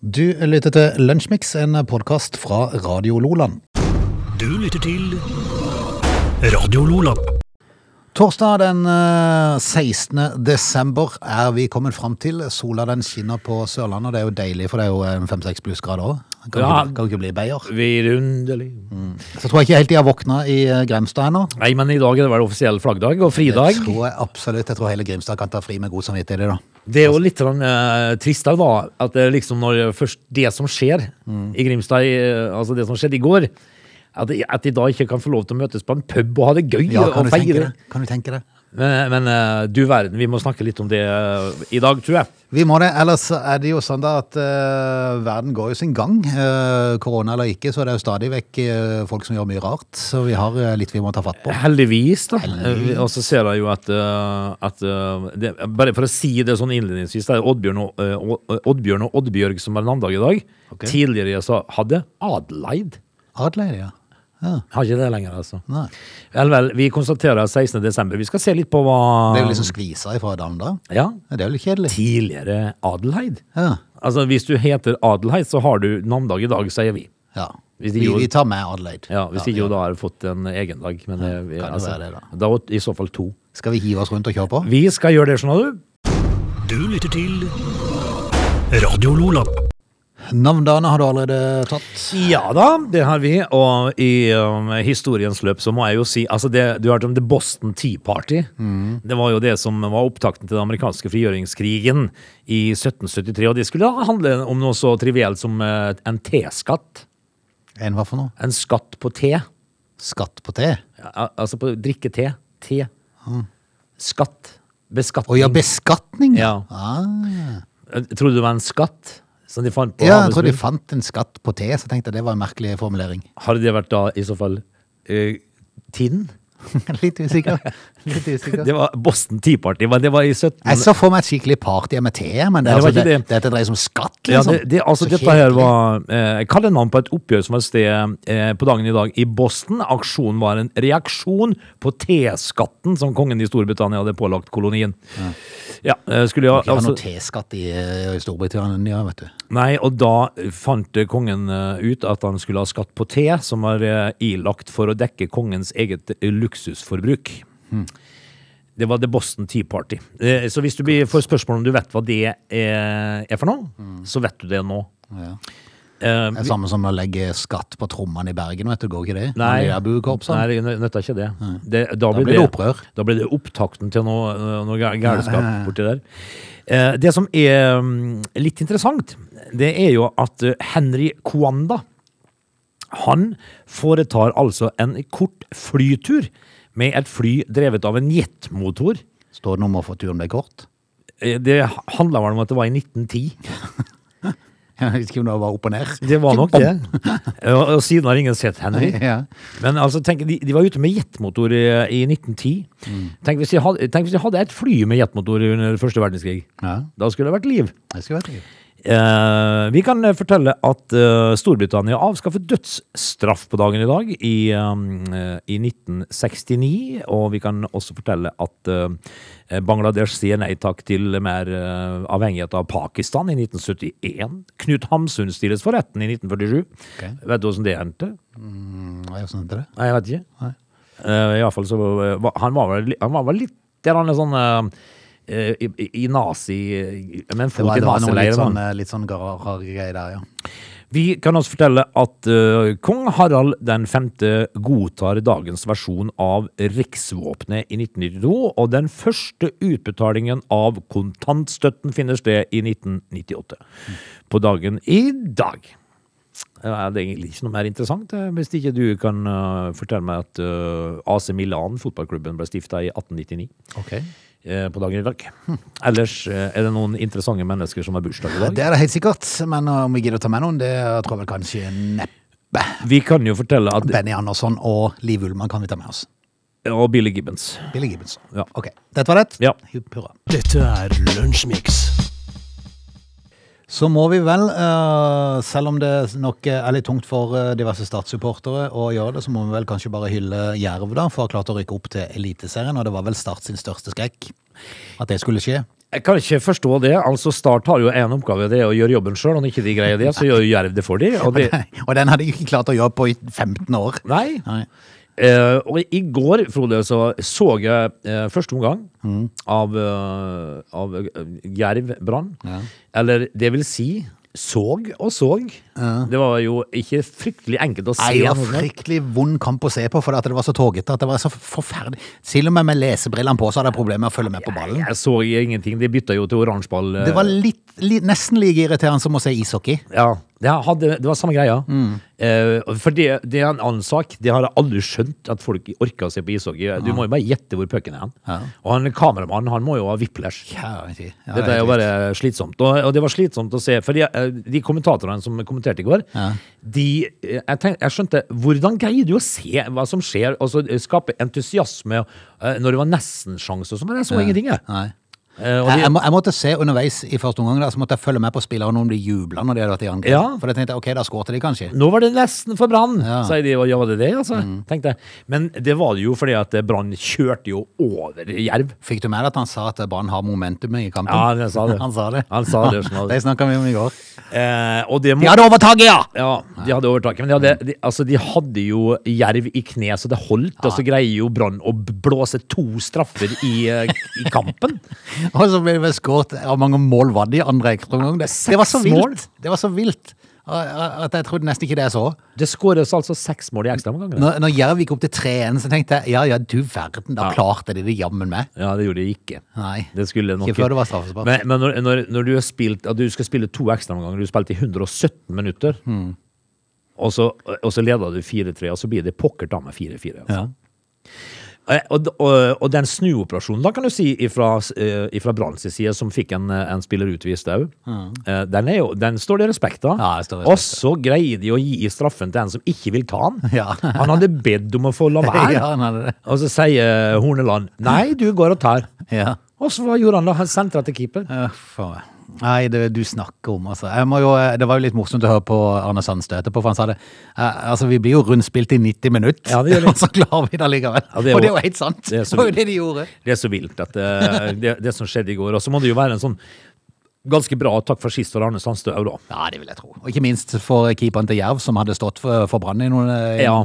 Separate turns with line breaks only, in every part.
Du lytter til Lunsjmix, en podkast fra Radio Loland.
Du lytter til Radio Lola.
Torsdag den eh, 16. desember er vi kommet fram til. Sola den skinner på Sørlandet, og det er jo deilig, for det er jo eh, fem-seks plussgrader òg. Kan,
Ja.
ikke- kan ikke bli beier.
Vidunderlig.
Så tror jeg ikke helt de har våkna i eh, Grimstad ennå.
Nei, men i dag er det vel offisiell flaggdag og
Det
fridag.
tror jeg absolutt. Jeg tror hele Grimstad kan ta fri med god samvittighet i dag.
Det er jo litt sånn, eh, trist da, da, at det liksom når først det som skjer
Mm.
i Grimstad, eh, altså det som skjedde i går, at, de- at de da ikke kan få lov til å møtes på en pub og ha det gøy
Ja, kan
og
du tenke
feire.
det? Kan du tenke det?
Men, men eh, du verden, vi må snakke litt om det eh, i dag, tror jeg.
Vi må det, ellers er det jo sånn da at eh, verden går jo sin gang. Eh, korona eller ikke, så er det jo stadig vekk eh, folk som gjør mye rart. Så vi har eh, litt vi må ta fatt på.
Heldigvis, da. Eh, Og så ser jeg jo at, eh, at eh, det, Bare for å si det sånn innledningsvis, det er Oddbjørn og, eh, Odd- Oddbjørn og Oddbjørg som har navnedag i dag.
Ok.
Tidligere så hadde Adelaid.
Adelaide, ja. ja.
Har ikke det lenger, altså.
Nei.
Vel, vel, vi konstaterer 16. desember. Vi skal se litt på
Det er
hva
jo liksom skvisa ifra dagen da.
Ja,
Ja, Det er jo litt kjedelig.
tidligere Adelaid.
Ja.
Altså, hvis du heter Adelaid, så har du navnedag i dag, sier vi.
ja.
Hvis de
Vi,
gjorde-
vi tar med Adelaide.
Ja, Hvis ikke jo da har fått en egen dag. Men eh, vi-
kan jo
altså,
være det,
da var det i så fall to.
Skal vi hive oss rundt og kjøre på?
Vi skal gjøre det, skjønner du.
Du lytter til Radio Lola.
Navndagene har du allerede tatt.
Ja da, det har vi. Og i um, historiens løp så må jeg jo si altså det, Du hørte om The Boston Tea Party.
Mm.
Det var jo det som var opptakten til den amerikanske frigjøringskrigen i 1773. Og det skulle da handle om noe så trivielt som eh, en teskatt.
En hva for noe?
En skatt på te.
Skatt på te.
Ja, al- Altså på drikke-te. Te. Skatt.
Mm. Å ja,
Beskatning.
beskatning.
Ja.
Ah.
Trodde du det var en skatt? Som de fant på
ja, jeg tror de
Havnesbyen?
fant en skatt på te, så tenkte jeg det var en merkelig formulering.
Har det vært da i så fall eh, tiden?
Litt usikker. Litt usikker.
Det var Boston Tea Party, men det var i 17...
Jeg så for meg et skikkelig party med te, men det,
Nei, det
er
var
altså,
ikke
det,
det.
dette dreier seg om skatt,
Ja,
liksom.
det, det, altså
Så
Dette her
kjedelig.
var eh, kallenavn på et oppgjør som var et sted eh, på dagen i dag i Boston. Aksjonen var en reaksjon på teskatten som kongen i Storbritannia hadde pålagt kolonien. Ja, eh, skulle jeg,
De har
altså,
noe teskatt i, eh, i Storbritannia, vet du.
Nei, og da fant eh, kongen eh, ut at han skulle ha skatt på te, som var eh, ilagt for å dekke kongens eget eh, luksusforbruk.
Hmm.
Det var The Boston Tea Party. Eh, Så hvis du blir- får spørsmål om du vet hva det eh, er for noe, så vet du det nå.
Hmm. Ja.
Eh,
Det er samme som å legge skatt på trommene i Bergen, vet du. Går ikke det?
Nei.
De der buekorpsene.
Nei, det nøtta ikke det. det da,
blir det opprør.
Da blir det opptakten til noe, noe gæ- gærenskap borti der. Eh, Det som er mm, litt interessant, det er jo at eh, Henry Kwanda han foretar altså en kort flytur med et fly drevet av en jetmotor.
Står det nummer for turen ble kort?
Eh, Det handla vel om at det var i 1910.
Jeg vet ikke om det var opp og ned.
Det var nok det. Og og siden har ingen sett Henry.
Ja.
Men altså, tenk, de, de var ute med jetmotor i, i 1910. Tenk, hvis de hadde, tenk hvis de hadde et fly med jetmotor under første verdenskrig.
Ja,
Da skulle det vært liv.
jeg skulle vært det.
Eh, vi kan eh, fortelle at eh, Storbritannia avskaffet dødsstraff på dagen i dag i, eh, i 1969. Og vi kan også fortelle at eh, Bangladesh sier nei takk til mer eh, avhengighet av Pakistan i 1971. Knut Hamsun stilles for retten i 1947.
Ok.
Vet du åssen det endte?
Mm, jeg skjønte det.
Nei, jeg vet ikke. Eh, I hvert fall så eh, var- Han var vel, li- han var vel litt grann sånn eh, eh, i, i- i nazi... Med en
Det
fot
var,
i
det var noe litt
nazileiren.
sånn,
da.
eh, litt sånn greier der, ja.
Vi kan også fortelle at eh, kong Harald den femte godtar dagens versjon av riksvåpenet i 1992, og den første utbetalingen av kontantstøtten finner sted i 1998. På dagen i dag. Ja, Er det egentlig ikke noe mer interessant, eh, hvis ikke du kan eh, fortelle meg at eh, AC Milan, fotballklubben, ble stifta i 1899
Ok.
eh, på dagen i dag. Ellers eh, er det noen interessante mennesker som har bursdag i dag.
Det er det helt sikkert, men eh, om vi gidder å ta med noen, det tror jeg vel kanskje neppe.
Vi kan jo fortelle at
Benny Andersson og Liv Ullmann kan vi ta med oss.
Og Billy Gibbons.
Billy Gibbons.
Ja.
Ok, dette var det.
Ja.
Hurra.
Dette er Lunsjmix.
Så må vi vel, eh, selv om det nok er litt tungt for eh, diverse statssupportere å gjøre det, så må vi vel kanskje bare hylle Jerv, da, for å ha klart å rykke opp til Eliteserien. Og det var vel Start sin største skrekk at det skulle skje.
Jeg kan ikke forstå det. Altså, Start har jo én oppgave, det er å gjøre jobben sjøl. Om ikke de greier det, så gjør Jerv det for dem. Og det,
Og den hadde jeg ikke klart å gjøre på i 15 år.
nei.
Nei.
Eh, og i går, Frode, så så jeg eh, første omgang
Mm.
av, eh, av eh, Jerv Brann. Eller det vil si såg og såg. Det var jo ikke fryktelig enkelt å se.
Nei, det var
noe sånt.
fryktelig vond kamp å se på, for at det var så tågete. At det var så forferdelig. Selv om jeg med lesebrillene på, så hadde jeg problemer med å følge med på ballen.
Jeg så ingenting. De bytta jo til oransje ball. eh,
Det var litt, litt, nesten like irriterende som å se ishockey.
Ja, det, hadde, det var samme greia.
Mm.
Eh, for det, det er en annen sak. Det har jeg aldri skjønt at folk orker å se på ishockey. Du må jo bare gjette hvor pucken er. hen.
Ja.
Og han kameramannen han må jo ha whiplash.
Ja, det
Dette er jo bare slitsomt. Og, og det var slitsomt å se. For de, eh, de kommentatorene som kommenterte i går,
Ja.
de eh, jeg, tenk, jeg skjønte Hvordan greier du å se hva som skjer, og så eh, skape entusiasme eh, når det var nesten-sjanse og sånn? Men jeg så ingenting, jeg.
Nei.
Eh, og
Jeg,
de,
jeg, må, jeg måtte se underveis i første omgang, da, så måtte jeg følge med på spillerne om de jubla når de hadde vært i angrep.
Ja.
For da tenkte jeg ok, da skårte de kanskje.
Nå var det nesten for Brann,
Ja. Mm.
sier de. Og ja, var det det, altså? Tenkte jeg. Men det var det jo fordi at eh, Brann kjørte jo over Jerv.
Fikk du med deg at han sa at Brann har momentumet i kampen?
Ja, han sa det.
han sa det.
Han sa det, sånn at-
det snakka vi om i går.
Eh, og det må
De hadde overtaket, ja!
ja, de hadde overtaket. Men de hadde, de, altså, de hadde jo Jerv i kne, så det holdt. Og så greier jo Brann å b- blåse to straffer i, eh, i kampen.
Og så ble det vel skåret Hvor mange mål var det i andre ekstraomgang? Det, det var så
Seks mål.
vilt! Det var så vilt eh, at jeg trodde nesten ikke det jeg så.
Det skåres altså seks mål i ekstraomgangene.
Når, når Jerv gikk opp til 3-1, så tenkte jeg ja ja, du verden, da klarte de det jammen meg.
Ja, det gjorde de ikke.
Nei.
Det skulle nok
Ikke før det var straffespark.
Men, men når, når, når du har spilt At du skal spille to ekstraomganger, du spilte i 117 minutter,
Mm.
og, så, og så leder du 4-3, og så blir det pokker ta meg 4-4. Altså.
Ja.
Eh, Og, d- og, og den snuoperasjonen, da kan du si, ifra, s- eh, ifra Branns side, som fikk en, eh, en spiller utvist òg, den, er jo- den står det respekt av.
Ja, det står respekt av.
og så greier de å gi straffen til en som ikke vil ta den.
Ja.
Han hadde bedt om å få la være.
ja, han hadde det.
Og så sier Horneland nei, du går og tar.
Ja.
Og så hva gjorde han da? Han sentra til keeper.
Ja, faen meg. Nei, det, du snakker om, altså. Jeg må jo, det var jo litt morsomt å høre på Arne Sandstø etterpå, for han sa det. Eh, altså, vi blir jo rundspilt i 90 minutter,
Ja, det gjør vi.
og så klarer vi det allikevel.
Ja, det er
og det er
jo-
jo helt sant.
det er
Det
så
var jo
vilt.
det de gjorde.
Det er så vilt, at, eh, det, det som skjedde i går. Og så må det jo være en sånn ganske bra takk for sist for Arne Sandstøv, da.
Ja, det vil jeg tro. Og ikke minst for keeperen til Jerv, som hadde stått for, for Brann i, noen, eh, i,
Ja.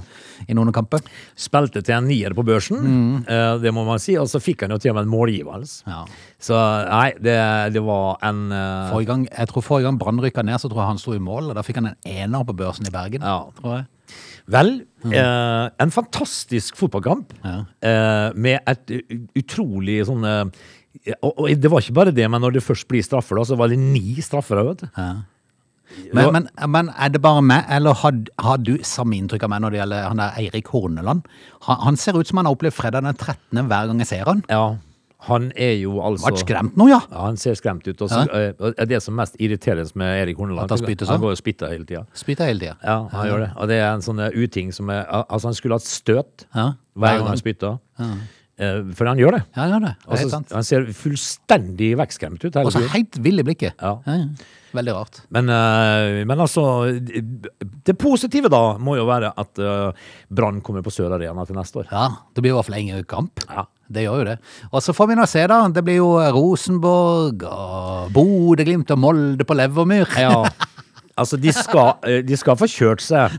i noen kamper.
Spilte til en nier på børsen, eh, det må man si. Og så fikk han jo til og med en målgivelse.
Mm. Ja.
Så nei, det, det var en eh,
Forrige gang, jeg tror forrige gang Brann rykka ned, så tror jeg han sto i mål, og da fikk han en ener på børsen i Bergen.
Ja.
Tror jeg.
Vel,
Mm.
eh, en fantastisk fotballkamp eh, med et u- utrolig sånn eh, og, og det var ikke bare det, men når det først blir straffer, da, så var det ni straffer. da, Vet du.
Men, men, men er det bare meg, eller har, har du samme inntrykk av meg når det gjelder han der Eirik Horneland? Han, han ser ut som han har opplevd fredag den 13. hver gang jeg ser han.
Ja, han er jo altså
Vært skremt nå, ja.
Ja, han ser skremt ut. Og så, eh, og det som er mest irriterende med Erik Horneland,
At han spytter sånn?
går og spytter hele tida.
Spyter hele tida.
Ja, han gjør det. Og det er en sånn eh, uting som er al- Altså, han skulle hatt støt
Ja.
hver gang han spytter. Eh, For han gjør det.
Ja, han gjør det. Det er
Altså,
helt sant.
han ser fullstendig vekkskremt ut. hele
Og så
tiden.
helt vill i blikket.
Ja.
Veldig rart.
Men, eh, men altså Det positive, da, må jo være at eh, Brann kommer på Sør Arena til neste år.
Ja, det blir i hvert fall en kamp.
Ja.
Det gjør jo det. Og så får vi nå se, da. Det blir jo Rosenborg og Bodø-Glimt og Molde på Levermyr.
Ja. Altså, de skal, eh, de skal få kjørt seg.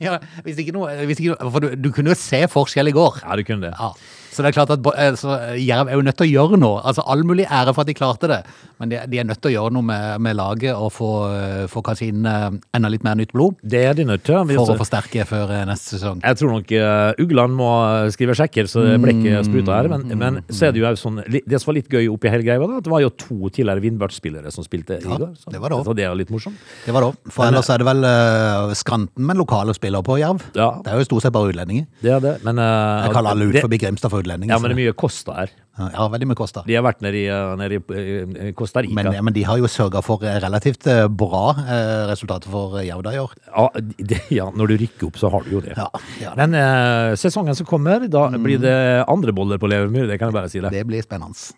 ja, hvis ikke noe, hvis ikke noe For du, du kunne jo se forskjell i går.
Ja, du kunne det.
Ja. Så det er klart at Bo- eh, så Jerv er jo nødt til å gjøre noe. Altså All mulig ære for at de klarte det, men de, de er nødt til å gjøre noe med, med laget og få, eh, få kanskje inn eh, enda litt mer nytt blod
Det er de nødt til. Vi-
for å forsterke før eh, neste sesong.
Jeg tror nok eh, Ugland må eh, skrive sjekker, så det ble ikke spruta her.
Mm.
Men, men så er det jo også sånn, li- det som var litt gøy oppi hele greia, var da, at det var jo to tidligere Vindbart-spillere som spilte i går. Så
det var det også.
så det er jo litt morsomt.
Det var det. For ellers er det vel eh, skranten med lokale spillere på Jerv.
Ja.
Det er jo stort sett bare utlendinger.
Det er det. Men, eh,
Jeg kaller alle ut
det-
forbi Grimstad for utlendinger.
Ja, men det er mye Costa her.
så- ja, veldig mye kosta.
De har vært nede i, eh, nede i eh, Costa Rica.
Men, ja, men de har jo sørga for eh, relativt eh, bra eh, resultater for eh, Jerv da i år.
ja, det, ja, når du rykker opp, så har du jo det.
Ja, ja.
Men eh, sesongen som kommer, da blir det andre boller på Levermyr, det kan jeg bare si det.
Det blir spennende.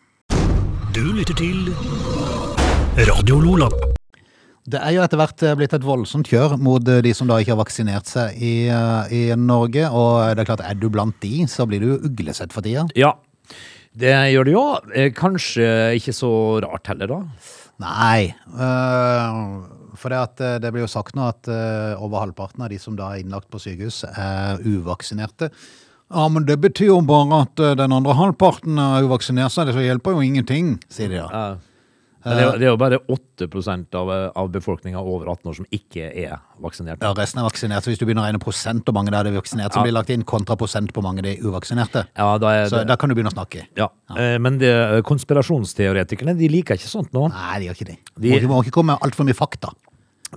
Du lytter til Radio Lola.
Det er jo etter hvert eh, blitt et voldsomt kjør mot eh, de som da ikke har vaksinert seg i, eh, i Norge. Og det er klart, er du blant de, så blir du jo uglesett for tida.
Ja. Det gjør det jo. Eh, Kanskje ikke så rart heller, da.
Nei. øh, for det, at, eh, det blir jo sagt nå at eh, over halvparten av de som da er innlagt på sykehus, er uvaksinerte. Ja, men det betyr jo bare at eh, den andre halvparten er uvaksinert, så det hjelper jo ingenting, sier de da.
Eh, Det er, jo- det er jo bare 8 av, eh, av befolkninga over 18 år som ikke er vaksinert.
Ja, resten er vaksinert, så hvis du begynner å regne prosent og mange der det er vaksinert, så blir det lagt inn kontra prosent på mange de uvaksinerte.
Ja, da er
Så
det,
da kan du begynne å snakke.
ja. Eh, Men det, konspirasjonsteoretikerne de liker ikke sånt nå.
Nei, de gjør ikke det.
De-
Må, ikke- må ikke komme med altfor mye fakta.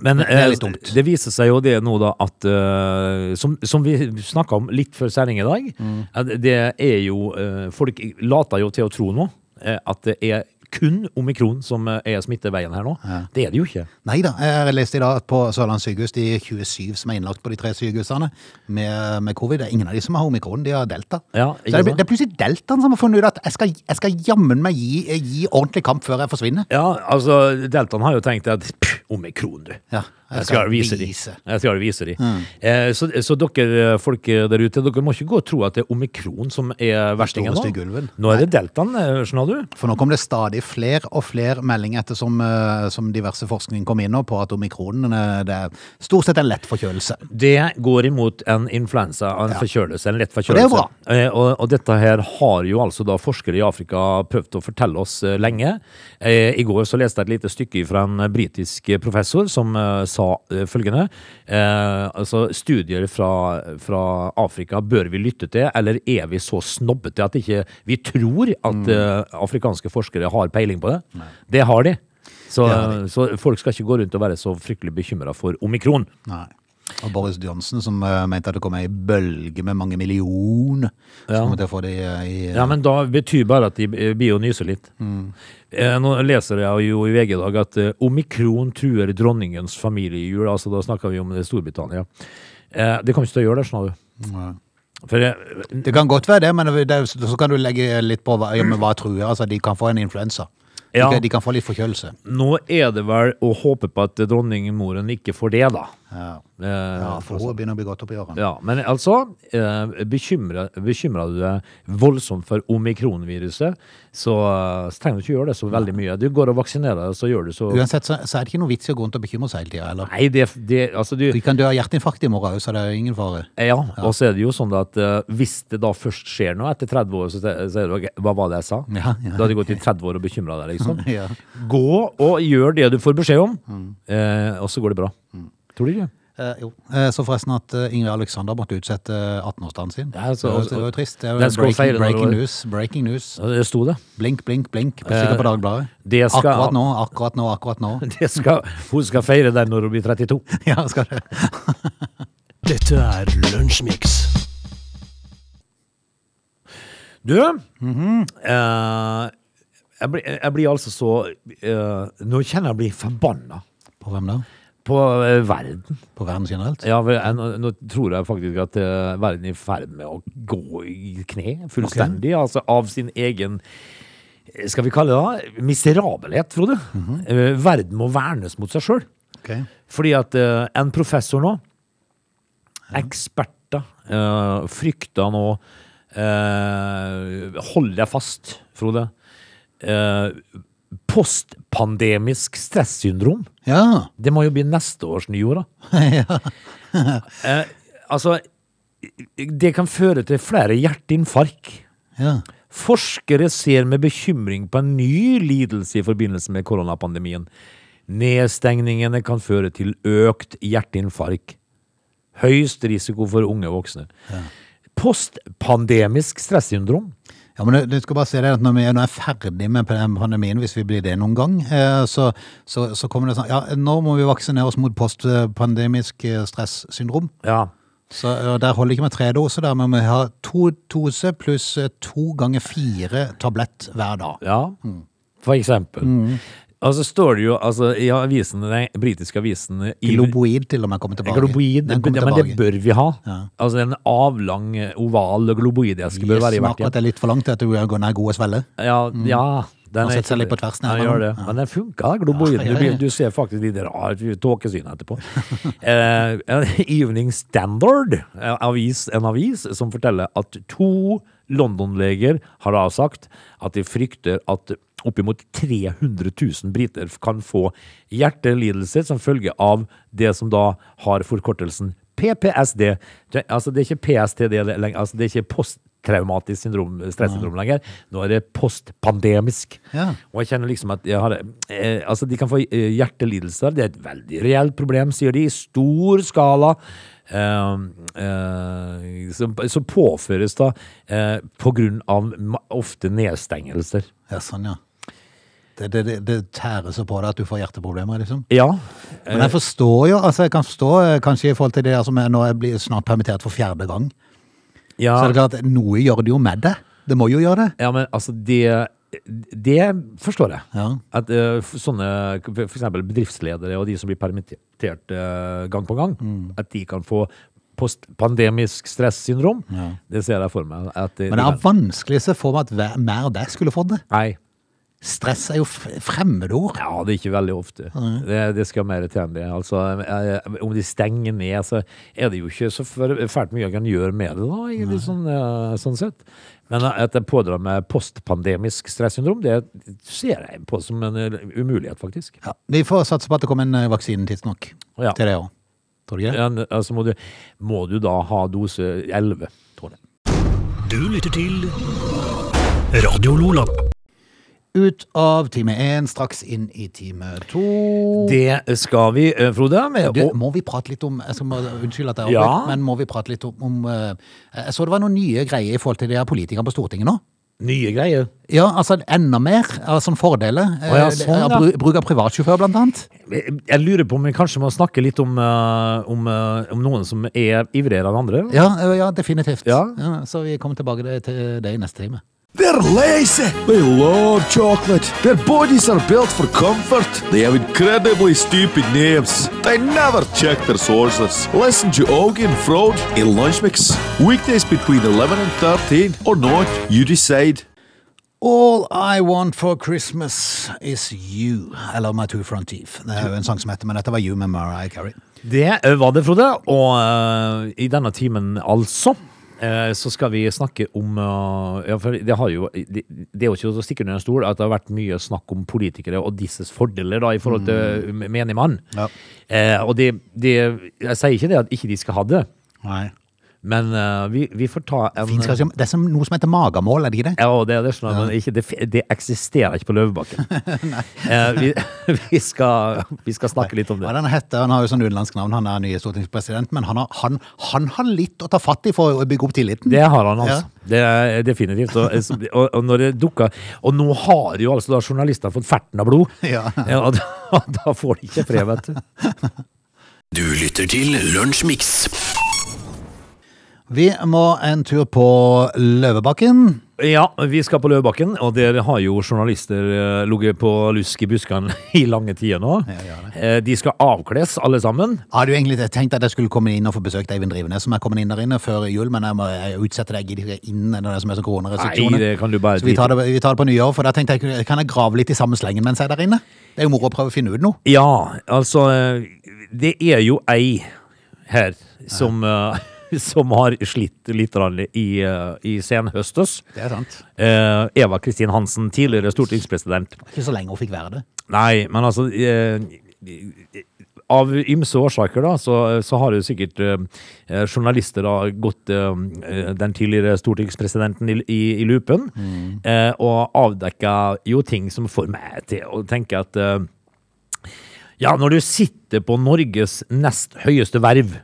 Men
Det er litt
eh,
dumt.
det viser seg jo det nå da at eh, Som, som vi snakka om litt før sending i dag,
Mm.
at det er jo eh, Folk later jo til å tro nå eh, at det er kun omikron som eh, er smitteveien her nå. Det er det jo ikke.
Nei da, eh, jeg leste i dag at på Sørlandet sykehus, de 27 som er innlagt på de tre sykehusene med, med covid, det er ingen av de som har omikron, de har delta.
Ja,
Så
ikke
det, er-
sant?
det er plutselig deltaen som har funnet ut at jeg skal, jeg skal jammen meg gi, gi ordentlig kamp før jeg forsvinner.
Ja, altså, Deltaen har jo tenkt at pff, omikron, du.
Ja,
Jeg skal vise dem. Jeg skal vise de. Eh, så, så dere eh, folk der ute, dere må ikke gå og tro at det er omikron som er verstingen
Storeste gulven.
nå. Nå er det deltaen, eh, skjønner du.
For nå kom det stadig flere og flere meldinger etter som, eh, som diverse forskning kom inn nå på at omikronen eh, det er stort sett en lett forkjølelse.
Det går imot en influensa, en forkjølelse, en lett forkjølelse.
det er bra.
Eh, Og, og dette her har jo altså da forskere i Afrika prøvd å fortelle oss eh, lenge. Eh, I går så leste jeg et lite stykke fra en eh, britisk eh, professor som eh, sa eh, følgende. Eh, altså, studier fra, fra Afrika bør vi lytte til, eller er vi så snobbete at ikke vi tror at
Mm.
eh, afrikanske forskere har peiling på det? Det har de. Så,
Det har
så folk skal ikke gå rundt og være så fryktelig bekymra for omikron.
Nei. Og Boris Johnson som eh, mente at det kom ei bølge med mange millioner
Ja.
som kommer til å få det i, i
Ja, men da betyr bare at de eh, blir å nyse litt. Eh, Nå leser jeg jo i VG i dag at eh, omikron truer dronningens familiejul. Altså, da snakker vi om eh, Storbritannia. Eh, Det kommer ikke til å gjøre det, skjønner du. For eh,
Det kan godt være det, men det, er- så kan du legge litt på hva, ja, men hva truer. Altså, de kan få en influensa. De,
Ja.
kan- de kan få litt forkjølelse.
nå er det vel å håpe på at eh, dronningmoren ikke får det, da.
Ja.
Eh,
Ja, altså. for hun begynner å bli godt opp i årene.
Ja, men altså, eh, bekymrer bekymrer du deg voldsomt for omikronviruset, så, eh, så trenger du ikke gjøre det så veldig mye. Du går og vaksinerer deg, så gjør du så
Uansett så, så er det ikke noe vits i å gå rundt og bekymre seg hele tida. eller?
Nei, det, det altså du
Vi kan dø av hjerteinfarkt i morgen òg, så det er jo ingen fare.
Ja, og så er det jo sånn at eh, hvis det da først skjer noe etter 30 år, så sier sier du ok, hva var det jeg sa?
Ja, ja. Mm.
Da hadde jeg gått i 30 år og bekymra deg, liksom.
Ja.
Gå og gjør det du får beskjed om,
Mm.
eh, og så går det bra. Tror du ikke?
Eh, jo. Eh, så forresten at eh, Ingrid Alexander måtte utsette 18-årsdagen sin.
Ja, så-
det, var, det var jo trist. Det var
Den skal
breaking,
feire når
breaking
det var-
news. Breaking news.
Ja, Det sto det.
Blink, blink, blink. Sikkert på Dagbladet.
det skal-
Akkurat nå, akkurat nå, akkurat nå.
det skal, hun skal feire den når hun blir 32.
ja, skal det.
Dette er Lunsjmix.
Du,
Mhm.
eh, jeg, blir, jeg blir altså så eh, Nå kjenner jeg jeg blir forbanna
På hvem da?
på eh, verden.
På verden generelt?
Ja, vel, jeg, nå, nå tror jeg faktisk at eh, verden er i ferd med å gå i kne fullstendig. Altså av sin egen eh, skal vi kalle det da, miserabelhet, Frode. Eh, verden må vernes mot seg sjøl.
Ok.
Fordi at eh, en professor nå, eksperter, eh, frykter nå eh, Hold deg fast, Frode. Eh, postpandemisk stressyndrom.
Ja.
Det må jo bli neste års nyår, da. eh, altså, det kan føre til flere hjerteinfarkt.
ja.
Forskere ser med bekymring på en ny lidelse i forbindelse med koronapandemien. Nedstengningene kan føre til økt hjerteinfarkt. Høyst risiko for unge voksne. Postpandemisk stressyndrom.
Ja, men du- du skal bare si det at når vi er, når jeg er ferdig med den pandemien, hvis vi blir det noen gang, eh, så, så, så kommer det sånn, ja, nå må vi vaksinere oss mot postpandemisk eh, stressyndrom.
Ja.
Så eh, der holder det ikke med tre doser der, men vi har to dose pluss eh, to ganger fire tablett hver dag.
Ja, for eksempel. Og så står det jo altså, i avisen, den britiske avisen
Globoid til og med kommer tilbake.
Globoid,
Den
men
kommer
det
tilbake.
bør vi ha. Altså en avlang, oval globoideske bør være i hvert
Smaker at det er litt for langt til at du går ned gode svelle.
Ja, ja den
Man setter
er
seg
ikke-
litt på tversen
Ja,
her,
gjør
da.
det. Men den funka, globoiden.
Ja, ja,
Du, blir-
ja.
du ser faktisk litt rar tåkesyn etterpå. eh, Evening Standard, eh, avis, en avis som forteller at to London-leger har da sagt at de frykter at oppimot 300 000 briter kan få hjertelidelser som følge av det som da har forkortelsen PPSD. Det, altså det er ikke PSTD lenger, altså det er ikke posttraumatisk syndrom, stressyndrom lenger. Nå er det postpandemisk.
Ja.
Og jeg kjenner liksom at jeg har, eh, altså de kan få eh, hjertelidelser. Det er et veldig reelt problem, sier de, i stor skala. eh, eh, som, som påføres da eh, på grunn av ma- ofte nedstengelser.
Ja, sånn, ja. Det, det, det, det tærer så på deg at du får hjerteproblemer, liksom.
Ja. Eh,
Men jeg forstår jo, altså jeg kan forstå eh, kanskje i forhold til det der som er nå jeg blir snart permittert for fjerde gang. Så er det
Ja,
klart, at noe gjør det jo med det. Det må jo gjøre det.
ja men altså det Det forstår jeg.
Ja.
At eh, f- sånne for eksempel bedriftsledere og de som blir permittert eh, gang på gang,
Mm.
at de kan få postpandemisk stressyndrom, det ser jeg for meg. At, eh,
Men det
de
er
kan-
vanskelig å se for meg at hver- mer det skulle fått det.
Nei.
Stress er jo f- fremmedord.
Ja, det er ikke veldig ofte. Det, det skal mer til enn det. Altså, eh, om de stenger ned, så er det jo ikke så fæ- fælt mye jeg kan gjøre med det, da, egentlig, sånn, eh, sånn sett. Men at jeg pådrar meg postpandemisk stressyndrom, det ser jeg på som en eh, umulighet, faktisk.
Ja. Vi får satse på at det kommer en eh, vaksine tidsnok
Ja.
til det òg. Tror du ikke det?
Ja, altså må, du, må du da ha dose 11, tror jeg.
Du lytter til Radio Lola.
Ut av time én, straks inn i time to.
Det skal vi, eh, Frode. Med,
Oh. Du,
og,
må vi prate litt om jeg skal bare, Unnskyld at jeg
Ja.
har avbrutt, men må vi prate litt om, om eh, Jeg så det var noen nye greier i forhold til de her politikerne på Stortinget nå.
nye greier.
Ja, altså enda mer. Altså fordeler. Eh,
Å ja, sånn,
eh,
ja.
bru- Bruk av privatsjåfør, blant annet.
Jeg jeg lurer på om vi kanskje må snakke litt om, eh, om, eh, om noen som er ivrigere enn andre.
Ja, eh, ja definitivt.
Ja.
så vi kommer tilbake det- til det i neste time.
They're lazy. They love chocolate. Their bodies are built for comfort. They have incredibly stupid names. They never check their sources. Listen to Augie and Frode in Lunch Mix. Weekdays between 11 and 13 or not, you decide.
All I Want for Christmas Is You, eller My Two Front Teeth. Det er jo en sang som heter, men dette var You med Mariah Carey.
Det var det, Frode. Og eh, i denne timen, altså, eh, så skal vi snakke om eh, ja, for det, har jo, det, det er jo ikke å stikke under en stol at det har vært mye snakk om politikere og disses fordeler da, i forhold til mm. menig mann.
Ja.
Eh, og det, det Jeg sier ikke det at ikke de skal ha det,
Nei.
men eh, vi, vi får ta en
Finnes kanskje, det er som, noe som heter magamål, er det ikke det?
ja, og det, det, skjønner, jeg, men ikke, det, fi- det eksisterer ikke på Løvebakken. eh, vi, vi, skal, vi skal snakke litt om det.
Ja, den heter, han har jo sånn utenlandsk navn, han er nye stortingspresident, men han har, han, han har litt å ta fatt i for å bygge opp tilliten.
Det har han, altså. Det er definitivt. Og, og, og når det dukker Og nå har jo altså da journalister fått ferten av blod.
Ja.
og da, da får de ikke fred, vet du.
Du lytter til Lunsjmix.
Vi må en tur på Løvebakken.
Ja, vi skal på Løvebakken, og der har jo journalister eh, ligget på lusk i buskene i lange tider nå.
gjør
Eh, De skal avkles, alle sammen.
Hadde jo egentlig tenkt at jeg skulle komme inn og få besøkt Eivind Drivenes, som er kommet inn der inne før jul, men jeg må jeg utsette det, jeg gidder ikke inn når det er som er sånn
Nei,
koronarestriksjoner.
det kan du bare
Så vi tar, det, vi tar det på nyår, for da tenkte jeg, kan jeg grave litt i samme slengen mens jeg er der inne? Det er jo moro å prøve å finne ut noe.
Ja, altså eh, Det er jo ei her som, eh, som har slitt litt grann i, eh, i senhøstes.
Det er sant.
Eh, Eva Kristin Hansen, tidligere stortingspresident.
Ikke så lenge hun fikk være det.
Nei, men altså eh, Av ymse årsaker, da, så, så har jo sikkert eh, eh, journalister da gått eh, den tidligere stortingspresidenten i, i, i lupen. Eh, og avdekka jo ting som får meg til å tenke at eh, ja, når du sitter på Norges nest høyeste verv,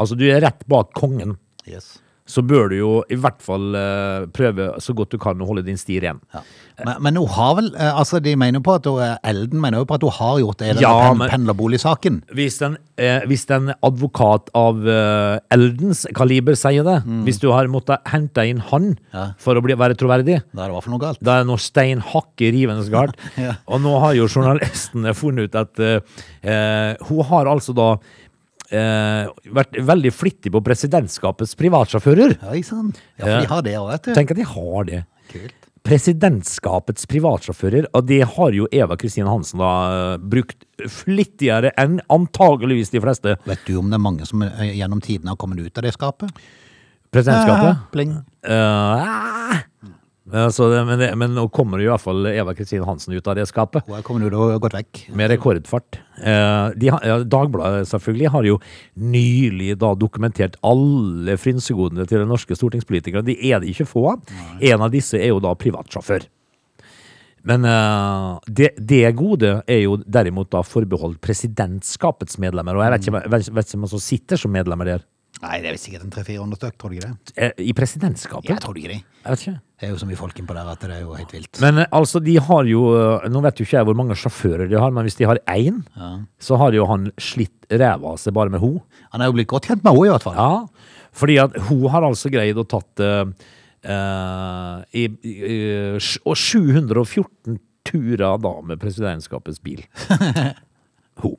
altså du er rett bak kongen,
Yes.
så bør du jo i hvert fall eh, prøve så godt du kan å holde din sti ren.
Ja. Men, men hun har vel, eh, altså de mener jo på at hun, eh, Elden mener jo på at hun har gjort det i den
Ja,
pen,
men-
pendlerboligsaken.
Hvis en, eh, hvis en advokat av eh, eldens kaliber sier det, hvis du har måttet hente inn han
Mm. Ja.
for å bli, være troverdig,
Da er det i hvert fall noe galt.
da er det noe stein hakket rivende galt.
Ja.
Og nå har jo journalistene funnet ut at eh, eh, hun har altså da eh, vært veldig flittig på presidentskapets privatsjåfører.
Oi sann. Ja, for
Ja.
de har det òg, vet du.
Tenk at de har det.
Kult.
Presidentskapets privatsjåfører, og det har jo Eva Kristin Hansen da eh, brukt flittigere enn antageligvis de fleste.
Vet du om det er mange som eh, gjennom tidene har kommet ut av det skapet?
Presidentskapet?
Pling.
Eh, eh, så det, men, det, men nå kommer jo i hvert fall Eva Kristin Hansen ut av det skapet.
Hun er kommet ut og gått vekk.
Med rekordfart. Eh, de, har- ja, Dagbladet selvfølgelig har jo nylig da dokumentert alle frynsegodene til de norske stortingspolitikerne. De er det ikke få av. En av disse er jo da privatsjåfør. Men eh, det, det gode er jo derimot da forbeholdt presidentskapets medlemmer. Og jeg vet ikke,
Mm.
hvem- vet, vet ikke hvem som sitter som medlemmer der.
Nei, det er vel sikkert en 300-400 stykk, tror du ikke det?
Eh, I presidentskapet?
Jeg tror ikke det.
Jeg vet ikke.
Det er jo så mye folk innpå der at det er jo helt vilt.
Men eh, altså, de har jo eh, Nå vet jo ikke jeg hvor mange sjåfører de har, men hvis de har én, så har jo han slitt ræva av seg bare med ho.
Han er jo blitt godt kjent med henne, i hvert fall.
Ja, fordi at hun har altså greid å tatt eh, eh, i, i, eh, sj- og 714 turer da med presidentskapets bil. Hun.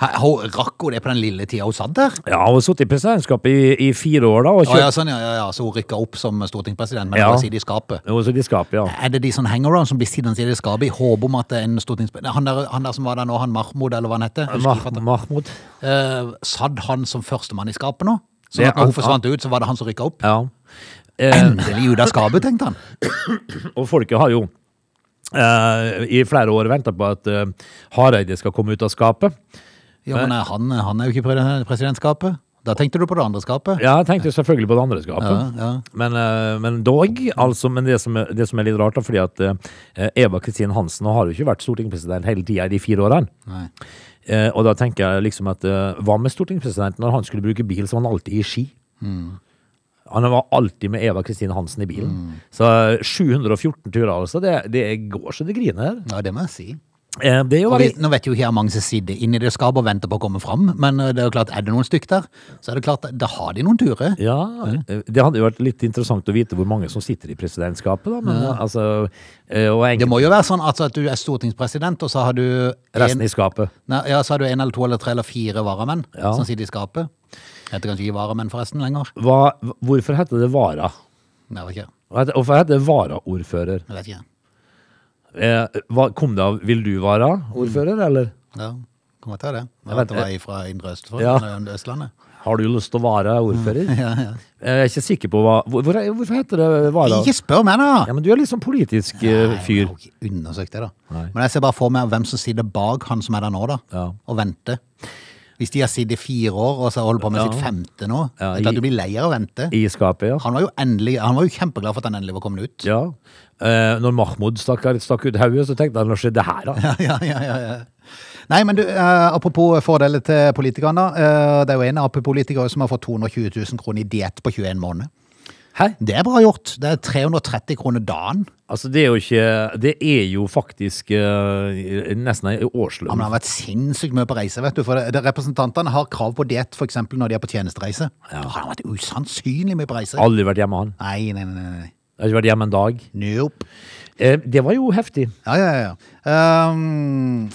Hæ, Hun rakk hun det på den lille tida hun satt der?
Ja, hun har sittet i presidentskapet i, i fire år, da. Og
Å,
kjørt,
ja, sånn, ja, ja, ja. Så hun rykka opp som stortingspresident, men
Ja.
ja. hun sitter i skapet.
Og så de skapet, ja.
Er det de sånn hangaround som blir sittende side i skapet i håp om at en stortingspresident han der, han der som var der nå, han Mahmoud, eller hva han heter? husker
Mah
ikke hva han-
Mahmoud.
Eh, satt han som førstemann i skapet nå? Så
Det-
når hun forsvant ut, så var det han som rykka opp?
Ja. Eh,
Endelig ut av skapet, tenkte han.
Og folket har jo eh, i flere år venta på at eh, Hareide skal komme ut av skapet.
Ja, men eh, han, han er jo ikke pre- presidentskapet. Da tenkte du på det andre skapet.
Ja, jeg tenkte selvfølgelig på det andre skapet.
Ja, ja.
Men, eh, men dog, altså. Men det som, er- det som er litt rart, da, fordi at eh, Eva Kristin Hansen har jo ikke vært stortingspresident hele tida i de fire årene.
Nei.
Eh, og da tenker jeg liksom at eh, hva med stortingspresidenten når han skulle bruke bil, så var han alltid i ski?
Mm.
Han var alltid med Eva Kristin Hansen i bilen. Så eh, 714 turer, altså. Det, det går så det griner.
Ja, det må jeg si.
Eh, det er jo
Og vi,
veldig
nå vet jo ikke jeg mange som sitter inn i det skapet og venter på å komme fram, men eh, det er jo klart, er det noen stykk der, så er det klart, da har de noen turer.
Ja,
Mm.
eh, det hadde jo vært litt interessant å vite hvor mange som sitter i presidentskapet, da. Men altså eh, Og
Det
enkelte
må jo være sånn altså, at du er stortingspresident, og så har du en,
resten i skapet.
nei, ja, så har du en eller to eller tre eller fire varamenn
Ja.
som sitter i skapet. Det heter kanskje ikke varamenn forresten lenger.
Hva, hvorfor heter det vara?
Nei, Jeg vet ikke.
Hva heter- Hvorfor heter det varaordfører?
Jeg vet ikke.
Eh, hva, kom det av 'vil du vara ordfører', eller?
Ja, kommer til det. Jeg
vet-
vet det var fra Indre Østfold,
Ja.
eller Indre Østlandet.
Har du lyst til å vara ordfører?
Mm.
Eh,
Ja, ja.
Jeg er ikke sikker på hva hvor, hvor, Hvorfor heter det vara?
Ikke spør meg da!
Ja, men du er litt sånn politisk eh,
Jeg
fyr.
har ikke undersøkt det, da.
Nei.
Men jeg ser bare for meg hvem som sitter bak han som er der nå, da,
Ja.
og venter. Hvis de har sittet i fire år og så holder på med
Ja.
sitt femte nå,
Ja,
det er klart
i-
du blir lei av å vente.
I skapet, ja.
Han var jo endelig, han var jo kjempeglad for at han endelig var kommet ut.
ja. Eh, når Mahmoud stakk, stakk ut hodet, så tenkte han 'hva skjedde her', da?
Ja, ja, ja, ja, ja. Nei, men du, eh, apropos fordeler til politikerne. Eh, det er jo en Ap-politiker som har fått 220 000 kroner i diett på 21 måneder.
Hæ?
Det er bra gjort. Det er 330 kroner dagen.
Altså, det er jo ikke Det er jo faktisk eh, nesten ei
Ja, men
årslønn.
han har vært sinnssykt mye på reise, vet du. For det- det- representantene har krav på diett, for eksempel når de er på tjenestereise.
Ja.
Han har vært usannsynlig mye på reise.
Aldri vært hjemme, han.
Nei, nei, nei, nei. nei.
Jeg har ikke vært hjemme en dag.
Nope.
Eh, det var jo heftig.
Ja, ja, ja. Um,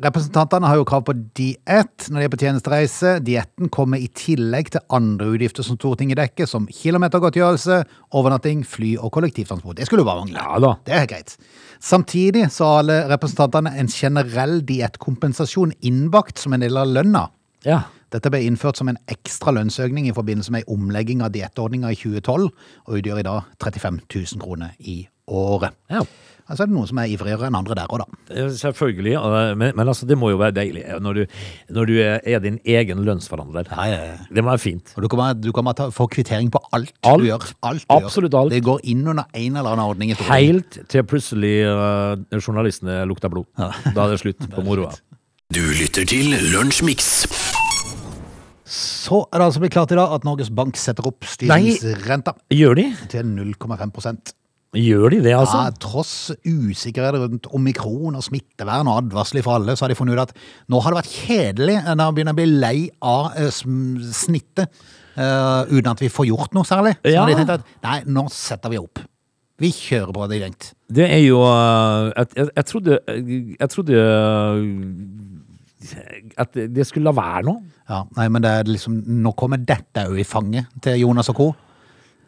representantene har jo krav på diett når de er på tjenestereise. Dietten kommer i tillegg til andre utgifter som Stortinget dekker, som kilometergodtgjørelse, overnatting, fly og kollektivtransport. Det skulle jo bare mangle.
Ja da.
Det er greit. Samtidig så har alle representantene en generell diettkompensasjon innbakt som en del av lønna.
Ja.
Dette ble innført som en ekstra lønnsøkning i forbindelse med en omlegging av diettordninga i 2012, og utgjør i dag 35 000 kroner i året.
ja.
Altså er det noen som er ivrigere enn andre der òg, da.
Eh, Selvfølgelig. eh, Men, men altså, det må jo være deilig eh, når du, når du er er din egen lønnsforhandler. Det må være fint.
Og du kommer, du kommer til å få kvittering på alt,
Alt.
du gjør. Alt du
Absolutt
gjør.
alt.
Det går inn under en eller annen ordning. i Stortinget.
Helt til plutselig eh, journalistene lukter blod. Da er det slutt på moroa.
Du lytter til Lunsjmix.
Så er det altså blitt klart i dag at Norges Bank setter opp styringsrenta
Gjør de?
til 0,5
Gjør de det, altså?
Ja, tross usikkerhet rundt omikron og smittevern og advarsler fra alle, så har de funnet ut at nå har det vært kjedelig eh, når vi begynner å bli lei av eh, sm- snittet eh, uten at vi får gjort noe særlig. Så
Ja.
har de tenkt at nei, nå setter vi opp. Vi kjører på det gjengt.
Det er jo eh, at- Jeg, jeg trodde Jeg trodde eh, at det det skulle la være nå.
Ja, nei, men det er liksom, nå kommer dette jo i fanget til Jonas og co.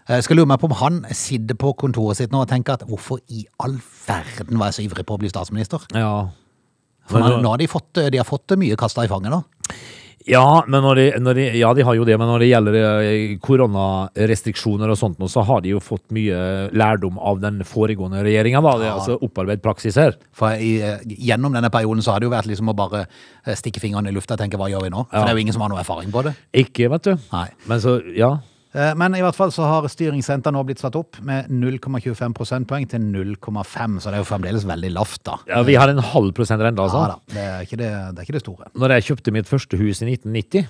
Eh, Jeg skal lure meg på om han sitter på kontoret sitt nå og tenker at hvorfor i all verden var jeg så ivrig på å bli statsminister?
Ja.
eh, For nå, nå har de fått, de har fått mye kasta i fanget nå.
Ja, men når de, når de, ja, de har jo det, men når det gjelder eh, koronarestriksjoner og sånt, nå, så har de jo fått mye lærdom av den foregående regjeringa. Det er altså opparbeidet praksis her.
For i, eh, gjennom denne perioden så har det jo vært liksom å bare eh, stikke fingrene i lufta og tenke hva gjør vi nå? For det er jo ingen som har noe erfaring på det.
Ikke, vet du.
Nei.
Men så, ja.
Eh, Men i hvert fall så har styringsrenta nå blitt satt opp med 0,25 prosentpoeng til 0,5, så det er jo fremdeles veldig lavt, da.
ja vi har en halv prosent rente, altså.
Ja da, det er ikke det, det, er ikke det store.
Når jeg kjøpte mitt første hus i 1990,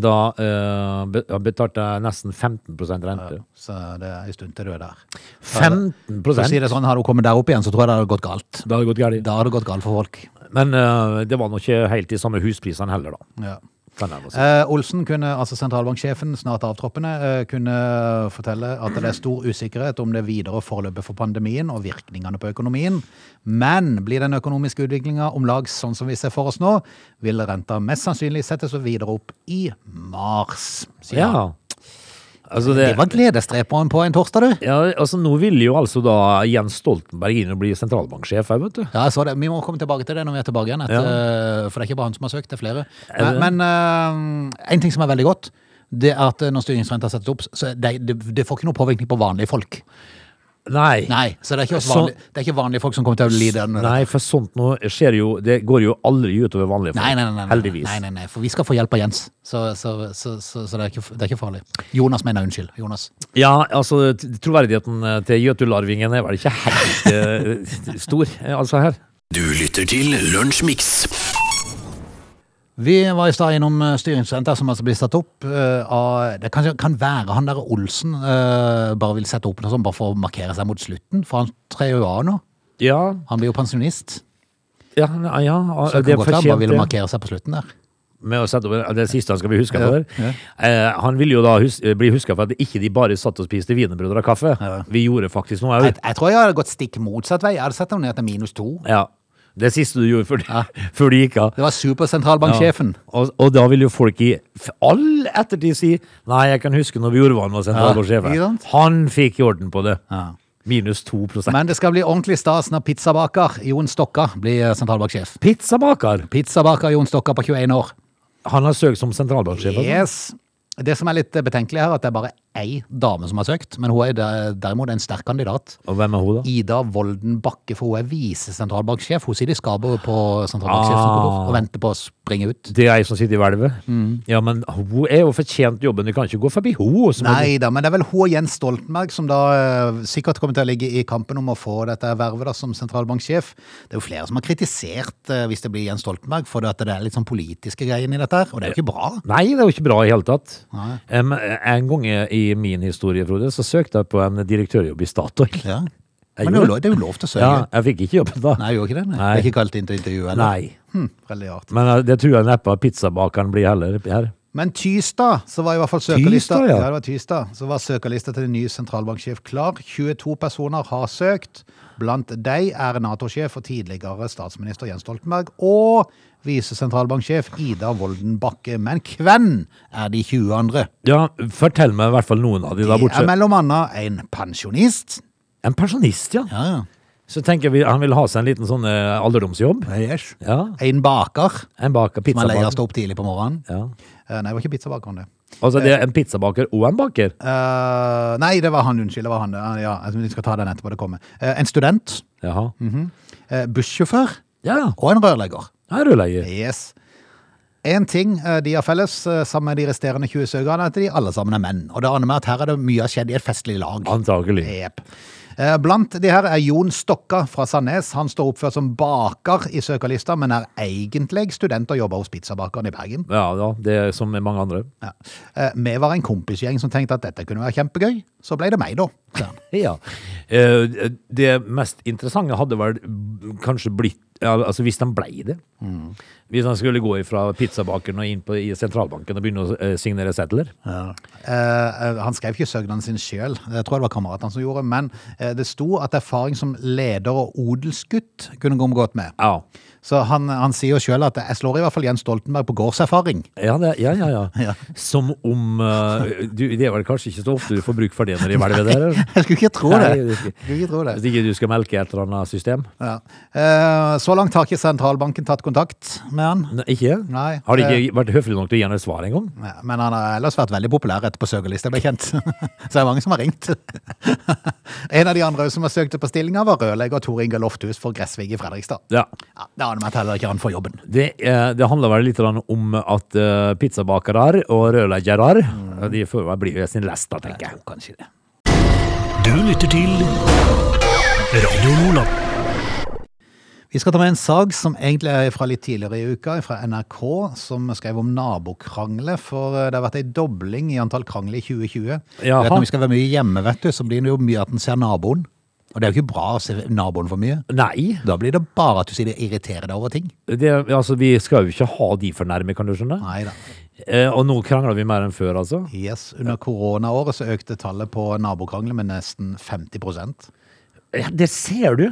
da eh, be- ja, betalte jeg nesten 15 rente.
Så det er en stund til du er der.
15
For å si det sånn, Hadde hun kommet der opp igjen, så tror jeg det hadde gått galt.
Det hadde gått galt.
Da hadde det gått galt for folk.
Men eh, det var nå ikke helt de samme husprisene heller, da.
Ja.
Kan jeg vel si.
Eh, Olsen, kunne, altså sentralbanksjefen, snart avtroppende, eh, kunne fortelle at det er stor usikkerhet om det videre forløpet for pandemien og virkningene på økonomien. Men blir den økonomiske utviklinga om lag sånn som vi ser for oss nå, vil renta mest sannsynlig settes videre opp i mars. sier han.
Ja. Altså
Eh, Det var gledesdreperen på en torsdag, du.
Ja, altså Nå ville jo altså da Jens Stoltenberg inn og bli sentralbanksjef her, vet du.
Ja, jeg så det. Vi må komme tilbake til det når vi er tilbake igjen, etter, for det er ikke bare han som har søkt, det er flere. Men, men eh, en ting som er veldig godt, det er at eh, når styringsrenta settes opp, så det, det, det får ikke noe påvirkning på vanlige folk.
Nei.
Nei, så det er ikke, oss
Så-
vanlige, det er ikke vanlige folk som kommer til å lide den. Nei,
Nei, for sånt nå skjer jo Det går jo aldri utover vanlige folk.
nei, nei, nei, nei,
Heldigvis.
nei, nei, nei, for vi skal få hjelp av Jens, så, så, så, så, så det, er ikke, det er ikke farlig. Jonas mener jeg, unnskyld. Jonas.
Ja, altså t- troverdigheten eh, til Jøtularvingen er vel ikke helt eh, stor, eh, altså her.
Du lytter til Lunsjmix.
Vi var i stad innom eh, styringsrenta som altså blir satt opp eh, av Det kan, kan være han der Olsen eh, bare vil sette opp noe sånt bare for å markere seg mot slutten, for han trer jo av nå.
Ja,
Han blir jo pensjonist.
ja, ja, ja
Så det
det
kan godt være han bare vil
fortjente
markere seg på slutten der.
med å sette over Det siste han skal bli huska for.
Ja,
Eh, han ville jo da hus bli huska for at ikke de bare satt og spiste wienerbrød og drakk kaffe. Vi gjorde faktisk noe òg.
Jeg, jeg tror jeg hadde gått stikk motsatt vei. Jeg hadde sett ham ned til minus to.
Ja. Det siste du gjorde før, før du gikk av.
Det var supersentralbanksjefen.
Ja. Og, og da vil jo folk i f- all ettertid si Nei, jeg kan huske når Bjorvann var sentralbanksjef.
Ja, ikke sant?
han fikk i orden på det.
Ja.
Minus 2
Men det skal bli ordentlig stas når pizzabaker Jon Stokka blir eh, sentralbanksjef.
Pizzabaker!
Pizzabaker Jon Stokka på 21 år.
Han har søkt som sentralbanksjef. altså.
Yes. Det som er litt eh, betenkelig her, er at det er bare ei dame som har søkt, men hun er de- derimot en sterk kandidat.
Og hvem er hun, da?
Ida Volden Bakke, for hun er visesentralbanksjef. Hun sitter i skapet på sentralbanksjefens
Ah.
kontor og venter på å springe ut.
Det er ei som sitter i hvelvet?
Mm.
Ja, men hun er jo fortjent jobben. Du kan ikke gå forbi henne. som er-
Nei da, men det er vel hun og Jens Stoltenberg som da eh, sikkert kommer til å ligge i kampen om å få dette vervet da, som sentralbanksjef. Det er jo flere som har kritisert eh, hvis det blir Jens Stoltenberg, for det at det er litt sånn politiske greier i dette her, og det er jo ikke bra.
Nei, det er jo ikke bra i hele tatt.
Nei.
Em, en gang i min historie, Frode, så søkte jeg på en direktørjobb i Statoil.
Ja.
Jeg
Men det er,
gjorde
jo lov, det er jo lov til å søke.
Ja, jeg fikk ikke jobben da.
Nei, jeg gjorde ikke det. Nei.
Nei.
Det er ikke kalt inn til intervju heller.
Nei.
Hm, veldig rart.
Men eh, det tror jeg neppe at pizzabakeren blir heller her.
Men Tystad, så var i hvert fall søkerlista
Tystad,
ja.
ja.
det var Tystad, så var søkerlista til ny sentralbanksjef klar. 22 personer har søkt. Blant dem er Nato-sjef og tidligere statsminister Jens Stoltenberg og visesentralbanksjef Ida Volden Bakke. Men hvem er de 20 andre?
Ja, fortell meg i hvert fall noen av de
Det
der borte.
er mellom annet en pensjonist.
En pensjonist, ja.
Ja, ja.
Så tenker vi han vil ha seg en liten sånn eh, alderdomsjobb. Ja,
En baker,
en baker,
som er lei av å
pizzabaker.
stå opp tidlig på morgenen.
Ja.
Eh, Nei, det var ikke pizzabakeren, det.
Altså det er en pizzabaker og en baker.
Eh, nei, det var han, unnskyld. Det var han. Eh, Ja, vi skal ta den etterpå det kommer. Eh, en student,
Jaha.
eh, bussjåfør
Ja,
og en rørlegger.
jeg er rødleier.
Yes. En ting eh, de har felles eh, sammen med de resterende 20 søkerne, er at de alle sammen er menn. Og det aner meg at her er det mye har skjedd i et festlig lag.
Antakelig.
Jep. Eh, Blant de her er Jon Stokka fra Sandnes. Han står oppført som baker i søkerlista, men er egentlig student og jobber hos pizzabakeren i Bergen.
Ja, ja, det er som med mange andre.
Ja. Eh, Vi var en kompisgjeng som tenkte at dette kunne være kjempegøy. Så ble det meg, da. Ja.
Ja. Eh, Det mest interessante hadde vel kanskje blitt ja, Altså hvis de blei det. Hvis de skulle gå fra pizzabakeren og inn på, i sentralbanken og begynne å eh, signere sedler.
Eh, eh, han skrev ikke søknaden sin sjøl, jeg tror det var kameratene som gjorde, men eh, det sto at erfaring som leder og odelsgutt kunne gå godt med.
Ja.
Så han, han sier jo sjøl at 'jeg slår i hvert fall Jens Stoltenberg på gårdserfaring'.
Ja, det, ja, ja, ja.
Ja.
Som om eh, du, Det er vel kanskje ikke så ofte du får bruk for det når de hvelver der? eller?
Jeg skulle ikke tro det.
Nei, det er ikke-
Jeg skulle ikke tro det.
Hvis ikke du skal melke et eller annet system?
Ja. Eh, Så langt har ikke sentralbanken tatt kontakt med han.
Nei, ikke?
Nei,
Har de ikke vært høflige nok til å gi henne et svar engang?
Ja, Men han har ellers vært veldig populær etter på søkerlista ble kjent. Så det er mange som har ringt. En av de andre som har søkt på stillinga, var rørlegger Tor Inge Lofthus for Gressvig i Fredrikstad.
Ja.
Ja, det aner meg at heller ikke han får jobben.
Det, eh, det handler vel litt grann om at eh, pizzabakere og rørleggere
Mm.
De får vel bli ved sin lest, da, tenker jeg. Kanskje det.
Du lytter til Radio Nordland.
Vi skal ta med en sag som egentlig er fra litt tidligere i uka, fra NRK, som skrev om nabokrangle. For eh, det har vært ei dobling i antall krangler i 2020.
Jaha.
Du Vet, når vi skal være mye hjemme, vet du, så blir det jo mye at en ser naboen. Og det er jo ikke bra å se naboen for mye.
Nei.
Da blir det bare at du sier det irriterer deg over ting.
Det, altså, vi skal jo ikke ha de for nærme, kan du skjønne.
Nei da.
Eh, og nå krangler vi mer enn før, altså.
Yes, Under koronaåret så økte tallet på nabokrangler med nesten 50
Ja, det ser du!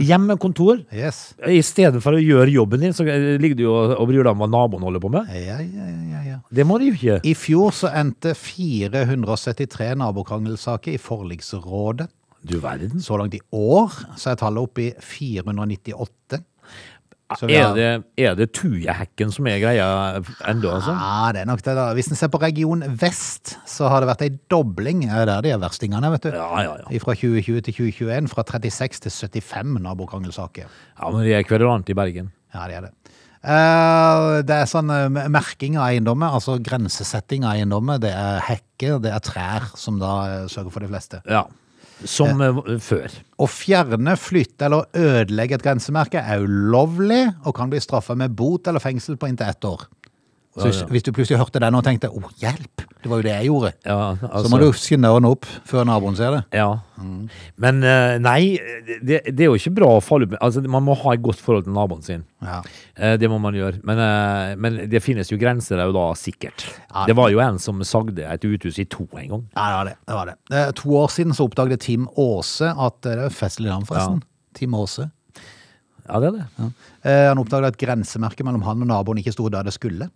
Hjemmekontor.
Yes.
I stedet for å gjøre jobben din, så eh, ligger du jo og og bryr deg om hva naboen holder på med.
Ja, ja, ja, ja.
Det må du jo ikke.
I fjor så endte 473 nabokrangelsaker i forliksrådet.
Du verden.
Så langt i år så er tallet oppe i 498. Så vi
Er
har-
det, er det tujehekken som er greia ennå, altså?
Ja, det er nok det da. Hvis en ser på region vest, så har det vært ei dobling. Det er der de er verstingene, vet du.
Ja, ja, ja.
Fra 2020 til 2021, fra 36 til 75 nabokrangelsaker.
Ja, men de er kverulant i Bergen.
Ja, det er det. Eh, Det er sånn eh, merking av eiendommer, altså grensesetting av eiendommer. Det er hekker, det er trær som da eh, sørger for de fleste.
Ja. Som eh, før.
Å fjerne, flytte eller ødelegge et grensemerke er ulovlig og kan bli straffa med bot eller fengsel på inntil ett år. Så hvis, hvis du plutselig hørte den og tenkte 'Å, hjelp', det var jo det jeg gjorde,
Ja, altså,
så må du skynde ørene opp før naboen ser det.
Ja. Men eh, nei, det, det er jo ikke bra å falle ut med Altså, man må ha et godt forhold til naboen sin.
Ja.
Eh, Det må man gjøre. Men, eh, men det finnes jo grenser der, jo da, sikkert.
Ja.
Det var jo en som sagde et uthus i to en gang.
Ja, det var det. det, var det. Eh, To år siden så oppdaget Tim Aase at eh, Det er jo et festlig navn, forresten. Tim Aase.
Ja, det er det. Ja.
Eh, Han oppdaget at grensemerket mellom han og naboen ikke sto der det skulle.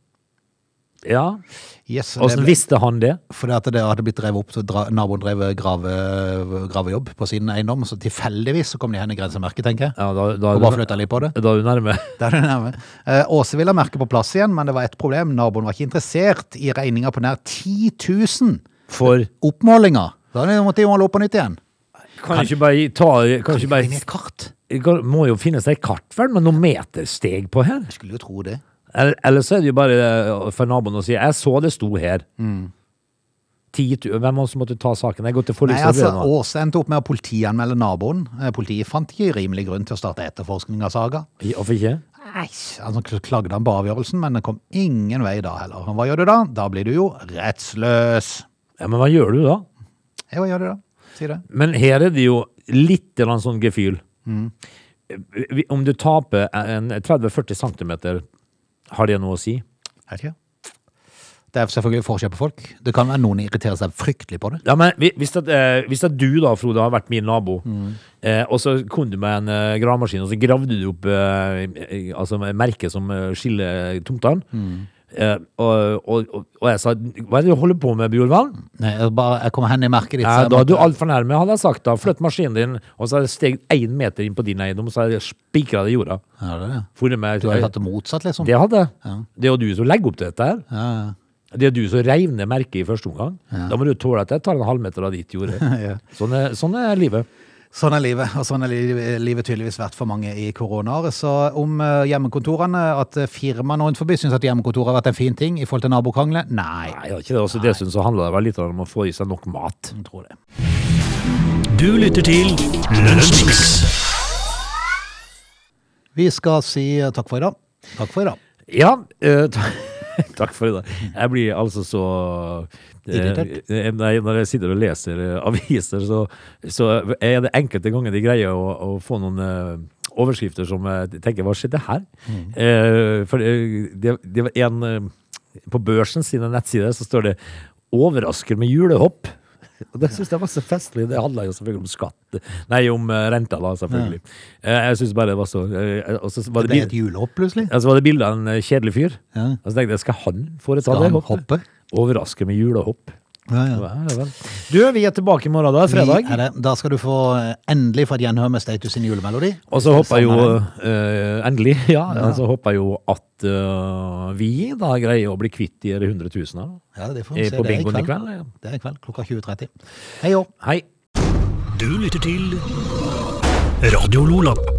Yes, det
Åssen
ble-
visste han det?
Fordi at det hadde blitt drevet opp, så dra, naboen drev grave, gravejobb på sin eiendom, så tilfeldigvis så kom de hen i grensemerket, tenker jeg.
Ja, da, da,
Og bare flytta litt på det.
da er du nærme.
Der er det nærme. Eh, Åse ville ha merket på plass igjen, men det var et problem. Naboen var ikke interessert i regninga på nær 10 000
For
oppmålinger. Da måtte de måle opp på nytt igjen.
kan du ikke bare ta kan du ikke
Inn i
bare,
et kart.
kan- Må jo finnes ei kartferd med noen metersteg på her.
Jeg skulle jo tro det.
Eller, eller så er det jo bare eh, for naboen å si 'jeg så det sto her'. Ti tu- Hvem av oss måtte ta saken? Jeg går til
Mm. Nei, altså,
forliksrådet nå.
Åse endte opp med å politianmelde naboen. Eh, Politiet fant ikke rimelig grunn til å starte etterforskning av saga.
Ja, Hvorfor ikke?
Nei, altså, klagde han på avgjørelsen, men det kom ingen vei da heller. Hva gjør du da? Da blir du jo rettsløs.
Ja, Men hva gjør du da?
Ja, hva gjør du da? Si det.
Men her er det jo litt grann sånn gefühl.
Mm.
Vi- Om du taper en 30-40 cm, har det noe å si?
Er det ikke? Det er selvfølgelig forskjell på folk. Det kan være noen irriterer seg fryktelig på det.
Ja, men hvi- hvis at, eh, hvis at du da, Frode, har vært min nabo, eh, og så kom du med en eh, gravemaskin, og så gravde du opp eh, eh, altså et merke som eh, skiller tomtene, eh, og, og, og, og jeg sa, hva er det du holder på med, Bjorvann?
Nei, jeg, bare, jeg kommer hen i merket ditt.
Ja,
så jeg
da
må-
er du alt for nærme, hadde jeg sagt da. Flytt maskinen din, og så har jeg steget en meter inn på din eiendom, og så har jeg spikret det i jorda.
Ja, det er det.
For det med,
Du har jo tatt det motsatt, liksom.
Det hadde jeg. Det er jo du som legger opp til dette her.
Ja, ja.
Det er du som reiv ned merket i første omgang. Da må du tåle at jeg tar en halvmeter av ditt jorde. sånn, er, sånn er livet.
Sånn er livet, og sånn er livet, livet tydeligvis vært for mange i koronaåret. Så om eh, hjemmekontorene, at eh, firmaene rundt forbi syns at hjemmekontor har vært en fin ting i forhold til nabokrangle? Nei.
Nei, det er ikke det. Også dessuten så handler det vel litt om å få i seg nok mat.
Jeg tror det.
Du lytter til Lunsjmix.
Vi skal si eh, takk for i dag. Takk for i dag.
Ja, eh, ta- takk for i dag. Jeg blir altså så eh,
Irritert?
eh, Nei, når jeg sitter og leser eh, aviser, så, så er det enkelte ganger de greier å, å få noen eh, overskrifter som jeg tenker Hva skjedde her?
Mm.
Eh, for eh, det, det var en eh, På børsen sine nettsider så står det 'Overrasker med julehopp'. Og det syns jeg var så festlig. Det handla jo selvfølgelig om skatt. Nei, om eh, renta, da, selvfølgelig. Eh, Jeg syns bare det var så eh, Og så
Det
var det,
ble
bil-
et julehopp, plutselig.
ja, så var det bilde av en eh, kjedelig fyr.
Ja.
Og så tenkte jeg, skal han foreta
Skal
det?
han
hoppet?
hoppe?
Overraske med julehopp.
Ja, ja.
Ja, ja vel. Du, vi er tilbake i morgen, da.
Vi
Fredag.
er det. Da skal du få eh, endelig få et gjenhør med Status sin julemelodi.
Og så håper jeg jo
Sånn er det.
eh, Endelig, ja. Og så håper jeg jo at eh, vi da greier å bli kvitt de her hundretusener
Ja, det får vi
eh,
se.
på
Det er i
bingoen i
kveld.
kveld. ja.
Det er i kveld klokka 20.30. Hei òg.
Hei.
Du lytter til Radio Lola.